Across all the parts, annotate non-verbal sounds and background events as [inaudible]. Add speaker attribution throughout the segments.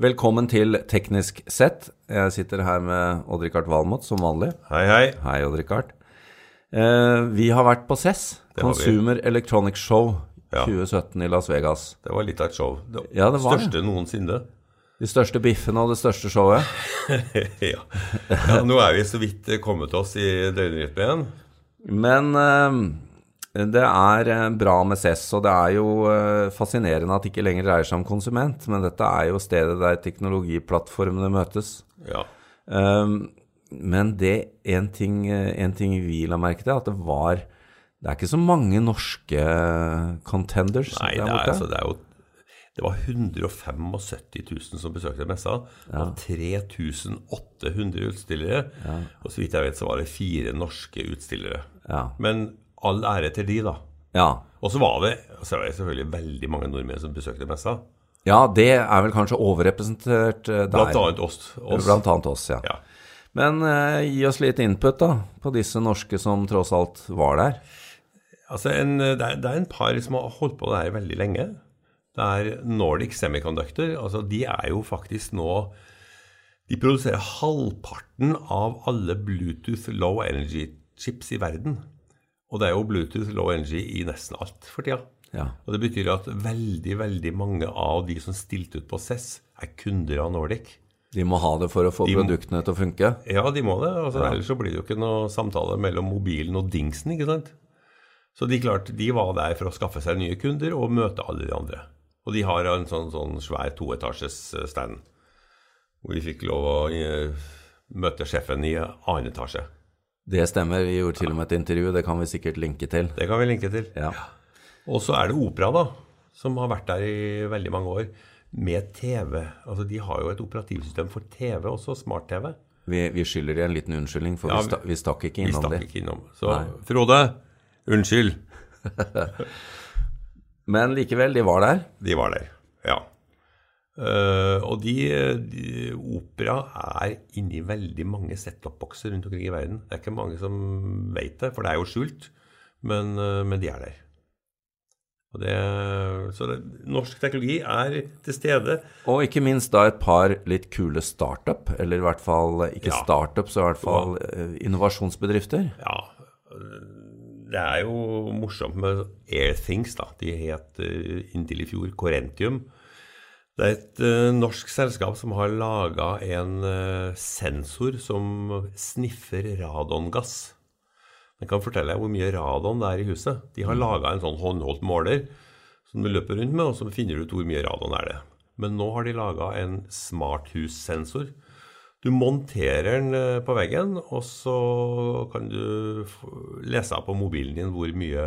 Speaker 1: Velkommen til Teknisk sett. Jeg sitter her med Odd-Rikard Valmot som vanlig.
Speaker 2: Hei, hei.
Speaker 1: Hei, Odd-Rikard. Eh, vi har vært på CES,
Speaker 2: har vi.
Speaker 1: Consumer Electronics Show
Speaker 2: Ja.
Speaker 1: 2017 i Las Vegas.
Speaker 2: Det var litt av et show. Det
Speaker 1: Ja, det var det.
Speaker 2: største noensinne. [laughs]
Speaker 1: De største biffene og det største showet.
Speaker 2: ja. ja, nå er vi så vidt kommet oss i døgnrytmen igjen.
Speaker 1: Men eh, det er eh, bra med CES, og det er jo eh, fascinerende at det ikke lenger dreier seg om konsument, men dette er jo stedet der teknologiplattformene møtes.
Speaker 2: Ja.
Speaker 1: Um, men det en ting, eh, en ting vi la merke til, at det var Det er ikke så mange norske eh, contenders
Speaker 2: Nei,
Speaker 1: der
Speaker 2: det er,
Speaker 1: borte.
Speaker 2: altså, det er jo Det var 175 000 som besøkte messa, og 3800 utstillere. Og så vidt jeg vet, så var det fire norske utstillere.
Speaker 1: Ja.
Speaker 2: Men all ære til de, da.
Speaker 1: ja.
Speaker 2: Og så var det så var det selvfølgelig veldig mange nordmenn som besøkte messa.
Speaker 1: ja, det er vel kanskje overrepresentert eh, der.
Speaker 2: Blant annet oss. oss.
Speaker 1: Blant annet oss, ja.
Speaker 2: Ja.
Speaker 1: Men eh, gi oss litt input da, på disse norske som tross alt var der.
Speaker 2: Altså, en, det, er, det er en par som har holdt på det her veldig lenge. Det er Nordic Semiconductor. altså De er jo faktisk nå De produserer halvparten av alle Bluetooth low energy-chips i verden. Og det er jo Bluetooth low energy i nesten alt for tida.
Speaker 1: Ja.
Speaker 2: Og det betyr at veldig, veldig mange av de som stilte ut på CES, er kunder av Nordic.
Speaker 1: De må ha det for å få
Speaker 2: må-
Speaker 1: produktene til å funke.
Speaker 2: Ja, de må det. Altså, Ellers så blir det jo ikke noe samtale mellom mobilen og dingsen. ikke sant? Så de, klart, de var der for å skaffe seg nye kunder og møte alle de andre. Og de har en sånn, sånn svær toetasjes eh, stand hvor vi fikk lov å eh, møte sjefen i annen etasje.
Speaker 1: Det stemmer. Vi gjorde til og med et intervju. Det kan vi sikkert linke til.
Speaker 2: Det kan vi linke til.
Speaker 1: Ja.
Speaker 2: Og så er det Opera, da, som har vært der i veldig mange år, med TV. Altså, De har jo et operativsystem for TV også, smart-TV.
Speaker 1: Vi, vi skylder de en liten unnskyldning, for
Speaker 2: Ja,
Speaker 1: vi, sta, vi stakk ikke
Speaker 2: Vi
Speaker 1: innom
Speaker 2: stakk
Speaker 1: de.
Speaker 2: ikke innom. Så Frode, unnskyld.
Speaker 1: Men likevel, de var der.
Speaker 2: De var der, ja. Eh, og de, de opera er inni veldig mange set-top-bokser rundt omkring i verden. Det er ikke mange som vet det, for det er jo skjult, men, eh, men de er der. Og det, så det, norsk teknologi er til stede.
Speaker 1: Og ikke minst da et par litt kule startup, eller i hvert fall eh, ikke
Speaker 2: Ja.
Speaker 1: startup, så i hvert fall eh, innovasjonsbedrifter.
Speaker 2: Ja, det er jo morsomt med Airthings, da. De het eh, inntil i fjor Corentium. Det er et eh, norsk selskap som har laga en eh, sensor som sniffer radongass. Den kan fortelle deg hvor mye radon det er i huset. De har laga en sånn håndholdt måler som du løper rundt med, og så finner du ut hvor mye radon er det. Men nå har de laga en smarthussensor. Du monterer den eh, på veggen, og så kan du f- lese av på mobilen din hvor mye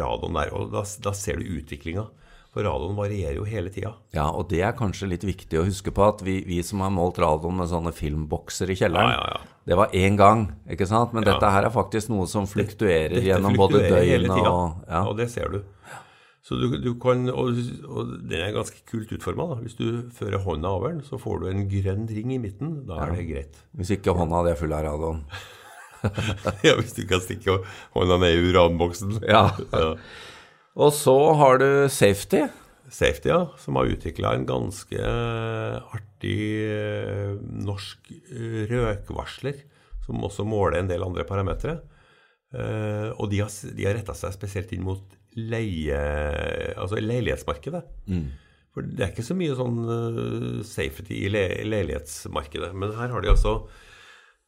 Speaker 2: radon det er. Og da, da ser du utviklinga. For radon varierer jo hele tida.
Speaker 1: Ja, og det er kanskje litt viktig å huske på at vi, vi som har målt radioen med sånne filmbokser i kjelleren,
Speaker 2: Ja, ja, ja.
Speaker 1: det var én gang, ikke sant? Men dette her er faktisk noe som fluktuerer
Speaker 2: Dette
Speaker 1: gjennom
Speaker 2: fluktuerer
Speaker 1: både
Speaker 2: hele
Speaker 1: døgnet
Speaker 2: tida,
Speaker 1: og ja.
Speaker 2: og det ser du. Så du, du kan, og, og den er ganske kult utforma. Hvis du fører hånda over den, så får du en grønn ring i midten. Da er det greit. [laughs]
Speaker 1: Hvis ikke hånda di er full av radioen.
Speaker 2: ja, Hvis du kan stikke hånda ned i uranboksen.
Speaker 1: Ja.
Speaker 2: ja.
Speaker 1: [laughs] Og så har du safety.
Speaker 2: Safety, ja, som har utvikla en ganske artig eh, norsk eh, røkvarsler, som også måler en del andre parametere. Eh, og de har, s- de har retta seg spesielt inn mot leie, altså leilighetsmarkedet. For det er ikke så mye sånn eh, safety i le leilighetsmarkedet. Men her har de altså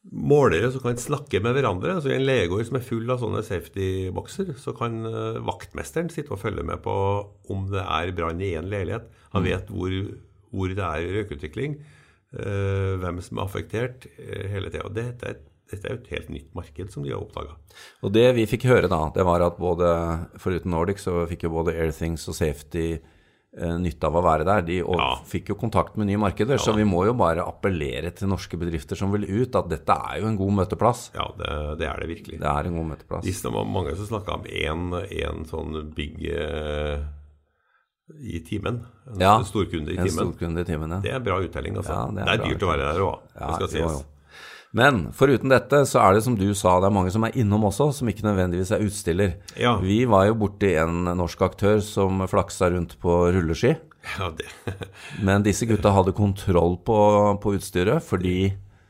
Speaker 2: målere som kan snakke med hverandre. Så I en legård som er full av sånne safety-bokser, så kan eh, vaktmesteren sitte og følge med på om det er brann i én leilighet.
Speaker 1: Mm.
Speaker 2: Han vet hvor, hvor det er røykutvikling, eh, hvem som er affektert, eh, hele tida. Og dette, er- dette er jo et helt nytt marked som de har oppdaga.
Speaker 1: Og det vi fikk høre da, det var at både, foruten Nordic, så fikk jo både Airthings og Safety eh, nytte av å være der. De og
Speaker 2: Ja.
Speaker 1: fikk jo kontakt med nye markeder, så vi må jo bare appellere til norske bedrifter som vil ut, at dette er jo en god møteplass.
Speaker 2: Ja, det, det er det virkelig.
Speaker 1: Det er en god møteplass.
Speaker 2: De som var mange som snakka om én sånn big eh, i timen. En
Speaker 1: Ja,
Speaker 2: storkunde i
Speaker 1: En
Speaker 2: timen.
Speaker 1: storkunde i timen,
Speaker 2: Det
Speaker 1: ja.
Speaker 2: er bra uttelling, altså.
Speaker 1: Ja, det
Speaker 2: det
Speaker 1: er
Speaker 2: er,
Speaker 1: bra
Speaker 2: dyrt å være der òg, det
Speaker 1: Ja,
Speaker 2: skal
Speaker 1: jo,
Speaker 2: sies.
Speaker 1: jo. Men foruten dette så er det som du sa, det er mange som er innom også, som ikke nødvendigvis er utstiller.
Speaker 2: Ja.
Speaker 1: Vi var jo borti en norsk aktør som flaksa rundt på rulleski.
Speaker 2: [laughs] Ja, det.
Speaker 1: Men disse gutta hadde kontroll på, på utstyret fordi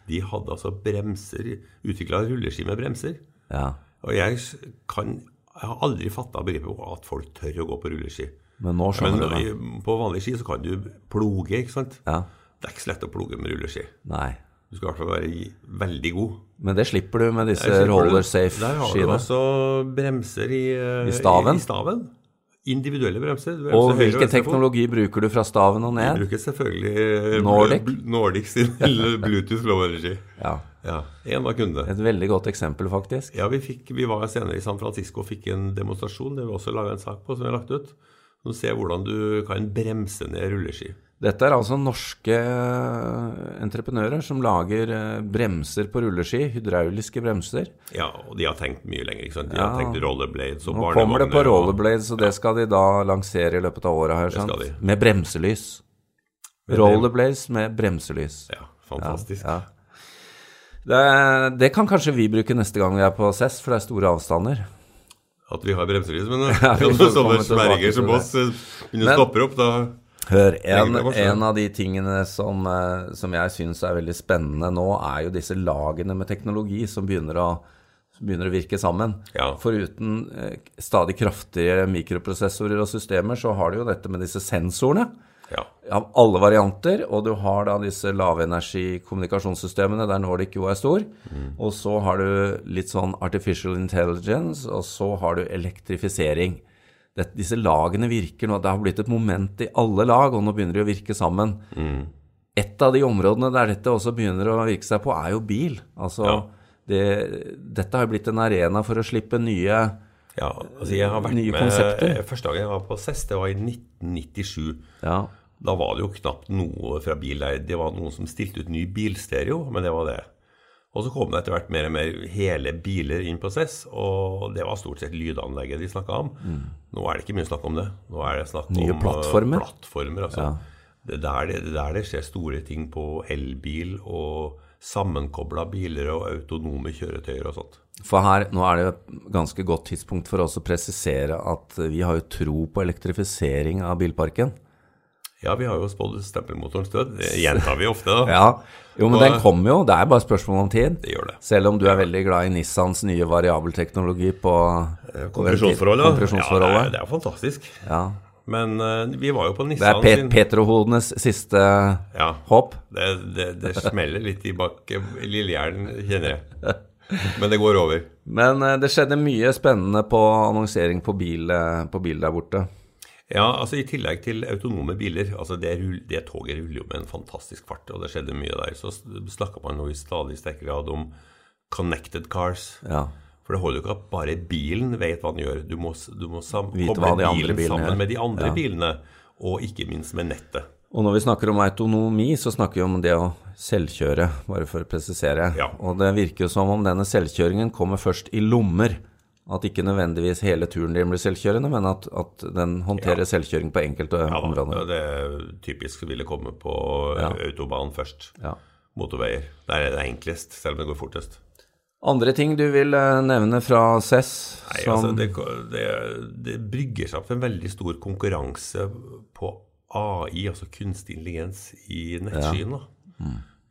Speaker 2: De hadde altså bremser, utvikla rulleski med bremser.
Speaker 1: Ja.
Speaker 2: Og jeg s- kan Jeg har aldri fatta begrepet om at folk tør å gå på rulleski.
Speaker 1: Men nå
Speaker 2: Men
Speaker 1: skjønner du det.
Speaker 2: i- på vanlig ski så kan du ploge, ikke sant?
Speaker 1: Ja.
Speaker 2: Det er ikke så lett å ploge med rulleski.
Speaker 1: Nei.
Speaker 2: Du skal i hvert fall være i- veldig god.
Speaker 1: Men det slipper du med disse
Speaker 2: Der slipper du-
Speaker 1: roller
Speaker 2: Der har du
Speaker 1: safe-skiene.
Speaker 2: også bremser i, eh,
Speaker 1: I staven?
Speaker 2: I, staven. Individuelle bremser. Du bremser
Speaker 1: Og
Speaker 2: høyre
Speaker 1: hvilken
Speaker 2: venstre fot.
Speaker 1: teknologi bruker du fra staven og
Speaker 2: Vi
Speaker 1: ned?
Speaker 2: bruker selvfølgelig eh,
Speaker 1: Nordic?
Speaker 2: bl- Nordic
Speaker 1: [laughs]
Speaker 2: sin lille Bluetooth Low Energy.
Speaker 1: Ja.
Speaker 2: Ja, En var kunde.
Speaker 1: Et veldig godt eksempel, faktisk.
Speaker 2: Ja, vi, fikk, vi var senere i San Francisco og fikk en demonstrasjon. Det har vi også laga en sak på som vi har lagt ut. Som ser hvordan du kan bremse ned rulleski.
Speaker 1: Dette er altså norske eh, entreprenører som lager eh, bremser på rulleski, hydrauliske bremser.
Speaker 2: Ja, og de har tenkt mye lenger. ikke sant? De har
Speaker 1: Ja.
Speaker 2: tenkt rollerblades og
Speaker 1: Nå kommer det på
Speaker 2: barnevogner og-
Speaker 1: rollerblades, og det skal de da lansere i løpet av året her, sant?
Speaker 2: skal de.
Speaker 1: Med bremselys. Rollerblades med bremselys.
Speaker 2: Ja, fantastisk.
Speaker 1: Ja. Det, det kan kanskje vi bruke neste gang vi er på SES, for det er store avstander.
Speaker 2: At vi har bremselys. Men eh,
Speaker 1: [laughs] Ja, vi får komme
Speaker 2: sånne
Speaker 1: tilbake
Speaker 2: sverger
Speaker 1: til
Speaker 2: som
Speaker 1: det.
Speaker 2: oss eh,
Speaker 1: Men-
Speaker 2: begynner å stoppe opp, da
Speaker 1: Hør, en,
Speaker 2: Egentlig var det sånn.
Speaker 1: en av de tingene som, eh, som jeg syns er veldig spennende nå, er jo disse lagene med teknologi som begynner å, som begynner å virke sammen.
Speaker 2: Ja.
Speaker 1: Foruten eh, stadig kraftige mikroprosessorer og systemer, så har du jo dette med disse sensorene.
Speaker 2: Ja.
Speaker 1: Av alle varianter, og du har da disse lavenergikommunikasjonssystemene der Nordic jo er stor. Og så har du litt sånn artificial intelligence, og så har du elektrifisering. Det, disse lagene virker nå. Det har blitt et moment i alle lag, og nå begynner de å virke sammen. Et av de områdene der dette også begynner å virke seg på, er jo bil. Altså,
Speaker 2: Ja.
Speaker 1: det, dette har jo blitt en arena for å slippe nye
Speaker 2: ja. Altså, jeg har vært
Speaker 1: Nye
Speaker 2: med
Speaker 1: konsepter.
Speaker 2: eh, Første gang jeg var på CES, det var i 1997.
Speaker 1: Ja,
Speaker 2: Da var det jo knapt noe fra bil der. Det var noen som stilte ut ny bilstereo, men det var det. Og så kom det etter hvert mer og mer hele biler inn på CES, og det var stort sett lydanlegget de snakka om. Nå er det ikke mye snakk om det. Nå er det snakk
Speaker 1: Mm. Nye
Speaker 2: om eh,
Speaker 1: plattformer.
Speaker 2: plattformer altså. Det er der det, det er der det skjer store ting på elbil og sammenkobla biler og autonome kjøretøyer og sånt.
Speaker 1: for her, nå er det jo et ganske godt tidspunkt for oss å presisere at vi har jo tro på elektrifisering av bilparken.
Speaker 2: Ja, vi har jo spådd stempelmotorens død. Det gjentar vi ofte,
Speaker 1: [laughs]
Speaker 2: da.
Speaker 1: Ja, jo, men
Speaker 2: Og-
Speaker 1: den kommer jo. Det er bare spørsmål om tid.
Speaker 2: Det gjør det.
Speaker 1: Selv om du er veldig glad i Nissans nye variabelteknologi på
Speaker 2: Kompresjonsforholdet. Ja, det er-
Speaker 1: kompresjonsforholdet.
Speaker 2: det er fantastisk.
Speaker 1: Eh, Ja,
Speaker 2: Men eh, vi var jo på
Speaker 1: det er
Speaker 2: Nissan
Speaker 1: Pet
Speaker 2: sin
Speaker 1: Petrohodenes siste
Speaker 2: ja,
Speaker 1: hopp.
Speaker 2: det, det, det smeller litt i bak i lillehjernen, kjenner jeg. Men det går over.
Speaker 1: Men eh, det skjedde mye spennende på annonsering på bil, eh, på bil der borte.
Speaker 2: Ja, altså I tillegg til autonome biler. altså Det, rull, det toget ruller jo med en fantastisk fart, og det skjedde mye der. Så snakka man nå i stadig sterkere grad om connected cars.
Speaker 1: Ja.
Speaker 2: For det holder jo ikke at bare bilen vet hva den gjør. Du må, s- du må sam
Speaker 1: Vite
Speaker 2: koble
Speaker 1: hva de andre
Speaker 2: bilen
Speaker 1: bilene
Speaker 2: sammen
Speaker 1: gjør.
Speaker 2: med de andre
Speaker 1: Ja.
Speaker 2: bilene, og ikke minst med nettet.
Speaker 1: Og når vi snakker om autonomi, så snakker vi om det å selvkjøre, bare for å presisere.
Speaker 2: Ja.
Speaker 1: Og det virker jo som om denne selvkjøringen kommer først i lommer. At ikke nødvendigvis hele turen din blir selvkjørende, men at, at den håndterer selvkjøring på enkelte
Speaker 2: Ja, da,
Speaker 1: områder.
Speaker 2: det er typisk vil det komme på autobanen først.
Speaker 1: Ja.
Speaker 2: motorveier. Der er det enklest, selv om det går fortest.
Speaker 1: Andre ting du vil eh, nevne fra CES?
Speaker 2: Nei,
Speaker 1: som-
Speaker 2: altså, det, det, det brygger seg opp en veldig stor konkurranse på AI, altså kunstig intelligens, i nettskyen. da.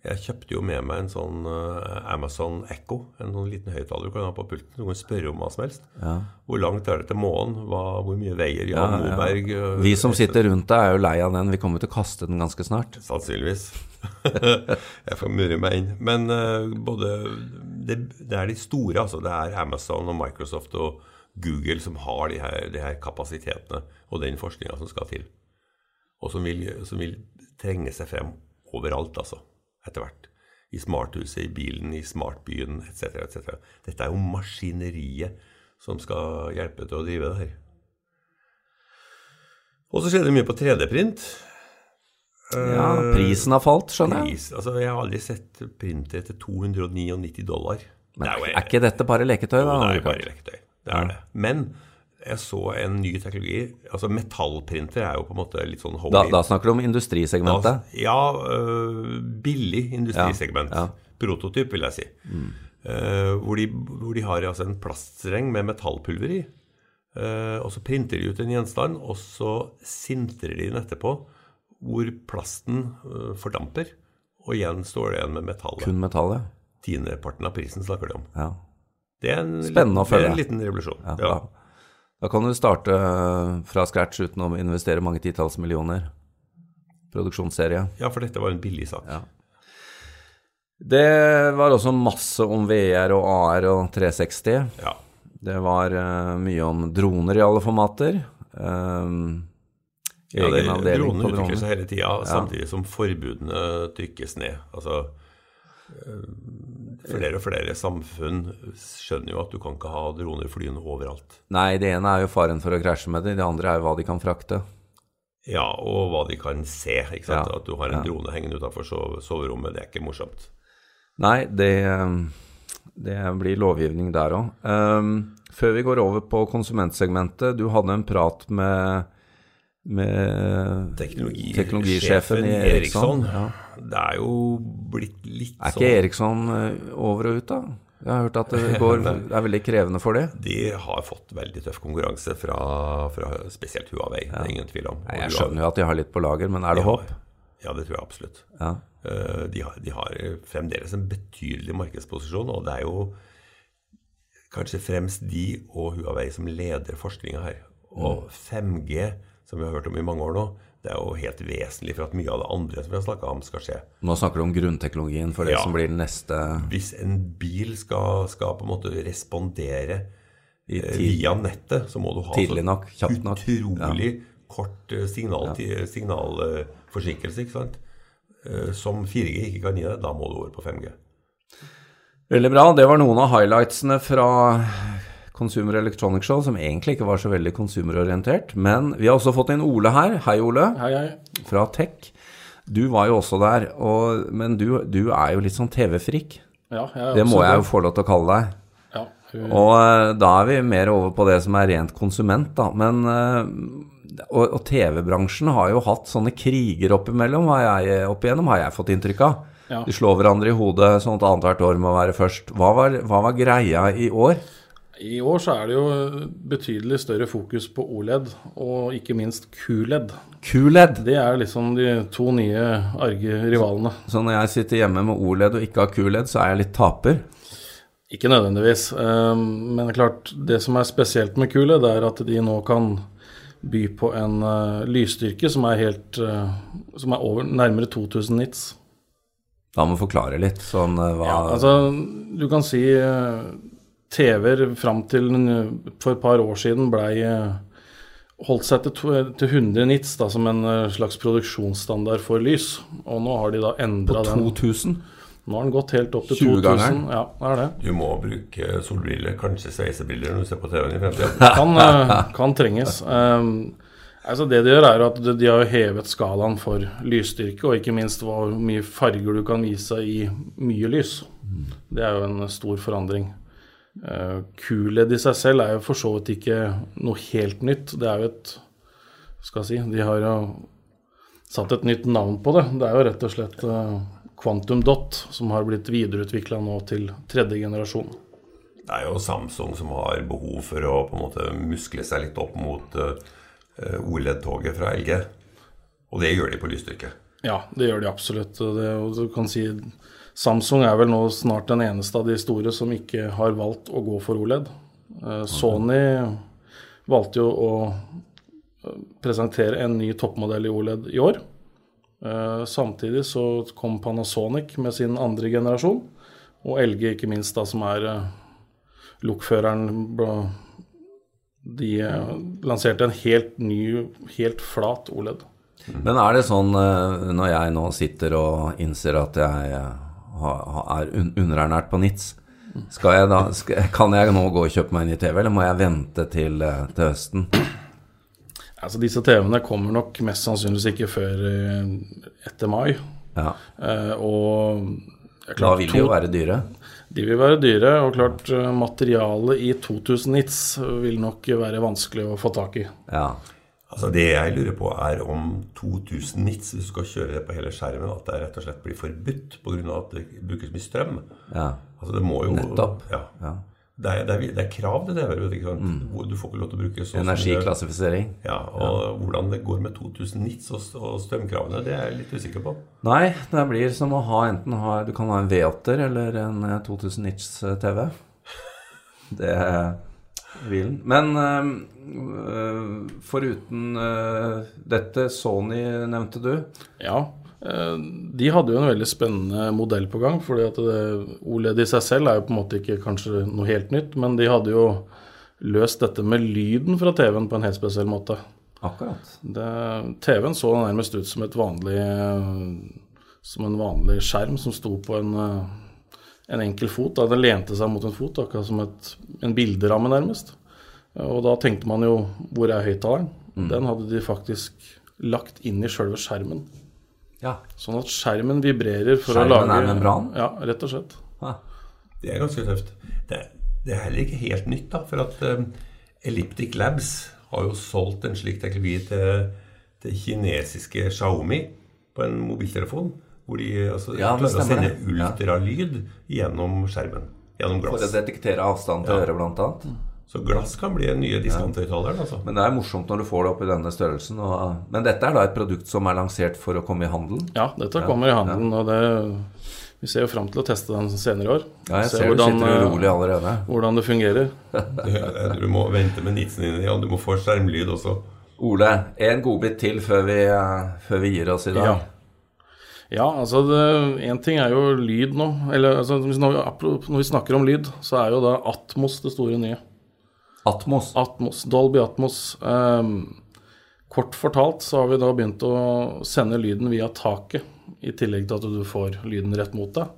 Speaker 2: Jeg kjøpte jo med meg en sånn eh, Amazon Echo, en sånn liten høyttaler du kan ha på pulten. Du kan spørre om hva som helst. Hvor langt er det til månen? Hva, hvor mye veier
Speaker 1: ja.
Speaker 2: Jan Moberg eh,
Speaker 1: Vi som sitter rundt deg, er jo lei av den. Vi kommer til å kaste den ganske snart.
Speaker 2: Sannsynligvis. [laughs] jeg får murre meg inn. Men eh, både det, det er de store, altså. Det er Amazon og Microsoft og Google som har de her, de her kapasitetene og den forskninga som skal til. Og som vil, som vil trenge seg frem overalt, altså. Etter hvert. I smarthuset, i bilen, i smartbyen etc. etc. Dette er jo maskineriet som skal hjelpe til å drive det her. Og så skjer det mye på 3D-print. Eh,
Speaker 1: Ja, Prisen har falt, skjønner jeg.
Speaker 2: Pris, altså Jeg har aldri sett printere til 299 dollar.
Speaker 1: Men
Speaker 2: det er, jo,
Speaker 1: er ikke dette bare leketøy?
Speaker 2: jo,
Speaker 1: da?
Speaker 2: det er jo
Speaker 1: Richard?
Speaker 2: bare leketøy. Det er det. Men jeg så en ny teknologi. altså Metallprinter er jo på en måte litt sånn
Speaker 1: Da,
Speaker 2: homey.
Speaker 1: da snakker du om industrisegmentet?
Speaker 2: Ja, øh, billig industrisegment.
Speaker 1: Ja, ja.
Speaker 2: Prototyp, vil Øh, jeg si. Eh, hvor, de, hvor de har altså en plaststreng med metallpulver i. Eh, og så printer de ut en gjenstand, og så sintrer de den etterpå hvor plasten eh, fordamper. Og igjen står det igjen med metallet.
Speaker 1: Kun metallet.
Speaker 2: Tiendeparten av prisen snakker de om.
Speaker 1: Ja.
Speaker 2: Det er en,
Speaker 1: Spennende å
Speaker 2: liten- det er
Speaker 1: følge.
Speaker 2: en liten revolusjon.
Speaker 1: Ja,
Speaker 2: Ja.
Speaker 1: Da, da kan du starte eh, fra scratch uten å investere mange titalls millioner. Produksjonsserie.
Speaker 2: ja, for dette var en billig sak.
Speaker 1: Ja. Det var også masse om VR og AR og 360.
Speaker 2: Ja.
Speaker 1: Det var eh, mye om droner i alle formater. Um,
Speaker 2: Ja, det,
Speaker 1: egenavdeling
Speaker 2: dronen
Speaker 1: på
Speaker 2: utvikler
Speaker 1: droner.
Speaker 2: seg hele tida, samtidig som forbudene trykkes ned. Altså, eh, flere og flere samfunn skjønner jo at du kan ikke ha droner flyende overalt.
Speaker 1: Nei, det ene er jo faren for å krasje med det, det andre er jo hva de kan frakte.
Speaker 2: Ja, og hva de kan se. ikke sant?
Speaker 1: Ja,
Speaker 2: At du har en drone hengende utafor soverommet, det er ikke morsomt.
Speaker 1: Nei, det, ehm, det blir lovgivning der òg. før vi går over på konsumentsegmentet, du hadde en prat med, med
Speaker 2: Teknologi-
Speaker 1: teknologisjefen i
Speaker 2: sjefen
Speaker 1: Eriksson. Ja.
Speaker 2: Det er jo blitt litt
Speaker 1: Er
Speaker 2: sånn
Speaker 1: ikke Eriksson eh, over og ut, da? Jeg har hørt at det [laughs] går, det er veldig krevende for det.
Speaker 2: De har fått veldig tøff konkurranse fra, fra spesielt Huawei, det er ingen tvil om. Og
Speaker 1: Jeg
Speaker 2: Huawei-
Speaker 1: skjønner jo at de har litt på lager, men er det håp?
Speaker 2: Ja, det tror jeg absolutt.
Speaker 1: Ja.
Speaker 2: Eh, De har, de har fremdeles en betydelig markedsposisjon, og det er jo kanskje fremst de og Huawei som leder forskninga her.
Speaker 1: Mm.
Speaker 2: Og 5G, som vi har hørt om i mange år nå, det er jo helt vesentlig for at mye av det andre som vi har snakka om, skal skje.
Speaker 1: Nå snakker du om grunnteknologien for det
Speaker 2: Ja.
Speaker 1: som blir den neste
Speaker 2: Hvis en bil skal, skal på en måte respondere
Speaker 1: i
Speaker 2: eh,
Speaker 1: tid.
Speaker 2: via nettet, så må du ha
Speaker 1: Tidlig nok, kjapt nok.
Speaker 2: utrolig kort eh, signal, signalforsinkelse, ikke sant? Eh, Som 4G ikke kan gi deg. Da må du over på 5G.
Speaker 1: Veldig bra. Det var noen av highlightsene fra Consumer Electronic Show, som egentlig ikke var så veldig konsumerorientert. Men vi har også fått inn Ole her. Hei, Ole,
Speaker 3: Hei, hei.
Speaker 1: fra Tech. Du var jo også der, og, men du, du er jo litt sånn TV-frik.
Speaker 3: Ja, jeg er
Speaker 1: Det må
Speaker 3: også
Speaker 1: jeg jo få lov til å kalle deg.
Speaker 3: Ja, hun-
Speaker 1: Og eh, da er vi mer over på det som er rent konsument, da. Men eh, Og, og TV-bransjen har jo hatt sånne kriger oppimellom, har jeg, opp igjennom, har jeg fått inntrykk av.
Speaker 3: Ja.
Speaker 1: De slår hverandre i hodet sånn at annethvert år må være først. Hva var, hva var greia i år?
Speaker 3: I år så er det jo betydelig større fokus på OLED, og ikke minst QLED.
Speaker 1: Kuled!
Speaker 3: Det er liksom de to nye arge rivalene.
Speaker 1: Så når jeg sitter hjemme med Oled og ikke har Kuled, så er jeg litt taper.
Speaker 3: Ikke nødvendigvis, eh, men klart det som er spesielt med QLED, det er at de nå kan by på en eh, lysstyrke som er helt eh, Som er over nærmere 2000 nits.
Speaker 1: Da må du forklare litt sånn eh, hva
Speaker 3: Altså, du kan si eh, TV-er fram til en- for et par år siden blei eh, holdt seg til, to- eh, til 100 nits da, som en eh, slags produksjonsstandard for lys. Og nå har de da endra den.
Speaker 1: 2000?
Speaker 3: Nå har den gått helt opp til
Speaker 1: 20-gangeren.
Speaker 3: 2000. Ja, det er det.
Speaker 2: Du må bruke solbriller, kanskje sveisebriller når du ser på TV-en i
Speaker 3: [laughs]
Speaker 2: fremtiden.
Speaker 3: Kan, eh, kan trenges. Um, altså det de gjør, er at de de har jo hevet skalaen for lysstyrke, og ikke minst hvor mye farger du kan vise i mye lys. Det er jo en stor forandring. Eh, QLED i seg selv er jo for så vidt ikke noe helt nytt. Det er jo et Skal jeg si De har jo satt et nytt navn på det. Det er jo rett og slett eh, Quantum Dot, som har blitt videreutvikla nå til tredje generasjon.
Speaker 2: Det er jo Samsung som har behov for å på en måte muskle seg litt opp mot eh, OLED-toget fra LG. Og det gjør de på lysstyrke.
Speaker 3: Ja, det gjør de absolutt. Og Det, og du kan si Samsung er vel nå snart den eneste av de store som ikke har valgt å gå for OLED. Eh, Sony valgte jo å eh, presentere en ny toppmodell i OLED i år. Eh, Samtidig så kom Panasonic med sin andre generasjon, og LG ikke minst, da, som er eh, lokføreren bla- De eh, lanserte en helt ny, helt flat E OLED.
Speaker 1: Men er det sånn eh, når jeg nå sitter og innser at jeg eh, har- har- er un underernært på NITS, skal jeg da, skal, kan jeg nå gå og kjøpe meg en ny TV, eller må jeg vente til, eh, til høsten?
Speaker 3: Altså Disse TV-ene kommer nok mest sannsynligvis ikke før eh, etter mai.
Speaker 1: Ja,
Speaker 3: Eh, og det er
Speaker 1: Da
Speaker 3: klart,
Speaker 1: vil de jo
Speaker 3: to-
Speaker 1: være dyre.
Speaker 3: de vil være dyre, og klart eh, materialet i 2000 nits vil nok være vanskelig å få tak i.
Speaker 1: Ja.
Speaker 2: Altså Det jeg lurer på, er om 2000 nits, hvis du skal kjøre det på hele skjermen, at det rett og slett blir forbudt pga. at det brukes mye strøm.
Speaker 1: ja.
Speaker 2: Altså det må jo
Speaker 1: Nettopp.
Speaker 2: Ja.
Speaker 1: Ja.
Speaker 2: Det er, det, er, det er krav til TV-er. ikke sant? Hvor Du får ikke lov til å bruke så
Speaker 1: Energiklassifisering.
Speaker 2: Ja, og hvordan det går med 2000 nits og, og strømkravene, det er jeg litt usikker på.
Speaker 1: Nei, det blir som å ha enten ha, Du kan ha en V8-er eller en eh, 2000 nits eh, TV. Det er hvilen. Men eh, eh, foruten eh, dette, Sony nevnte du.
Speaker 3: Ja. eh, De hadde jo en veldig spennende modell på gang. fordi at det, OLED i seg selv er jo på en måte ikke kanskje noe helt nytt, men de hadde jo løst dette med lyden fra TV-en på en helt spesiell måte.
Speaker 1: Akkurat.
Speaker 3: Det- TV-en så nærmest ut som, et vanlig, eh, som en vanlig skjerm som sto på en, eh, en enkel fot. Da. Den lente seg mot en fot, akkurat som et, en bilderamme nærmest. Og da tenkte man jo hvor er høyttaleren?
Speaker 1: Mm.
Speaker 3: Den hadde de faktisk lagt inn i sjølve skjermen.
Speaker 1: Ja.
Speaker 3: Sånn at skjermen vibrerer for
Speaker 1: Skjermen
Speaker 3: å lage
Speaker 1: er membran?
Speaker 3: Ja, rett og slett.
Speaker 1: Ah.
Speaker 2: Det er ganske tøft. Det, det er heller ikke helt nytt, da. For at eh, Elliptic Labs har jo solgt en slik teknologi til, til kinesiske Xiaomi på en mobiltelefon. Hvor de altså,
Speaker 1: Ja, det
Speaker 2: klarer å
Speaker 1: stemmer
Speaker 2: sende
Speaker 1: det. Ja.
Speaker 2: ultralyd gjennom skjermen. Gjennom
Speaker 1: For å
Speaker 2: glass.
Speaker 1: detektere avstand til øret, blant annet.
Speaker 3: Mm.
Speaker 2: Så glass kan bli den nye diskanthøyttaleren, altså.
Speaker 1: Men det er morsomt når du får det opp i denne størrelsen. Og, men dette er da et produkt som er lansert for å komme i handelen.
Speaker 3: Ja, dette kommer i handelen, og det, vi ser jo fram til å teste den senere i år.
Speaker 1: Ja, jeg
Speaker 3: Se
Speaker 1: ser du sitter
Speaker 3: eh,
Speaker 1: urolig allerede.
Speaker 3: hvordan det fungerer.
Speaker 2: Du må vente med nitsen din, ja. Du må få skjermlyd også.
Speaker 1: Ole, en godbit til før vi, eh, før vi gir oss i dag.
Speaker 3: Ja. Ja, altså én ting er jo lyd nå. Eller altså, hvis nå- apro- når vi snakker om lyd, så er jo da Atmos det store nye.
Speaker 1: Atmos.
Speaker 3: Atmos, Dolby Atmos. Ehm, kort fortalt så har vi da begynt å sende lyden via taket, i tillegg til at du får lyden rett mot deg.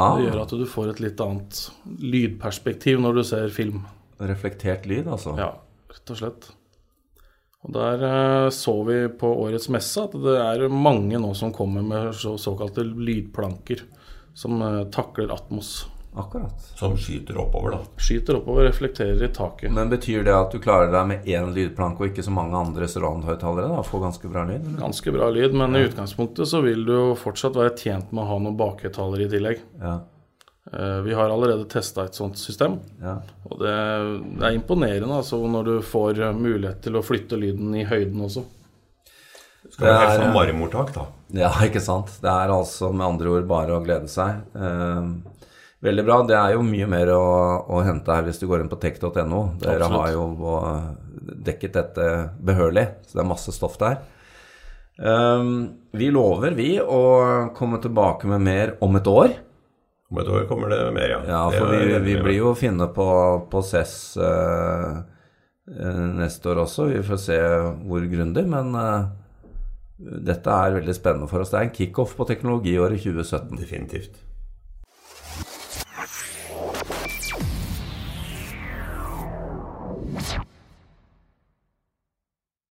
Speaker 1: Ah,
Speaker 3: Det gjør at du får et litt annet lydperspektiv når du ser film.
Speaker 1: reflektert lyd, altså.
Speaker 3: Ja, rett og slett. Og der eh, så vi på årets messe at det er mange nå som kommer med så, såkalte lydplanker som eh, takler Atmos.
Speaker 1: Akkurat.
Speaker 2: Som skyter oppover, da.
Speaker 3: Skyter oppover, reflekterer i taket.
Speaker 1: Men betyr det at du klarer deg med én lydplanke og ikke så mange andre surround-høyttalere? da? Får ganske bra lyd? eller?
Speaker 3: Ganske bra lyd, men i utgangspunktet så vil du jo fortsatt være tjent med å ha noen bakhøyttalere i tillegg.
Speaker 1: Ja.
Speaker 3: Eh, Vi har allerede testa et sånt system,
Speaker 1: ja.
Speaker 3: og det, det er imponerende altså, når du får eh, mulighet til å flytte lyden i høyden også.
Speaker 2: Skal være
Speaker 1: Det er,
Speaker 2: helt sånn
Speaker 1: ja.
Speaker 2: marmortak, da.
Speaker 1: [laughs] Ja, ikke sant. Det er altså med andre ord bare å glede seg. Eh, veldig bra. Det er jo mye mer å, å hente her hvis du går inn på tech.no. Dere
Speaker 3: Absolutt.
Speaker 1: har jo eh, dekket dette behørlig, så det er masse stoff der. Eh, vi lover, vi, å komme tilbake med mer om et år.
Speaker 2: Om et år kommer det mer, ja.
Speaker 1: Ja,
Speaker 2: Det
Speaker 1: for
Speaker 2: er
Speaker 1: vi,
Speaker 2: jeg
Speaker 1: vi
Speaker 2: enig med.
Speaker 1: blir jo å finne på, på CES eh, eh, neste år også. Vi får se hvor grundig, men eh, dette er veldig spennende for oss. Det er en kickoff på teknologiåret 2017.
Speaker 2: Definitivt.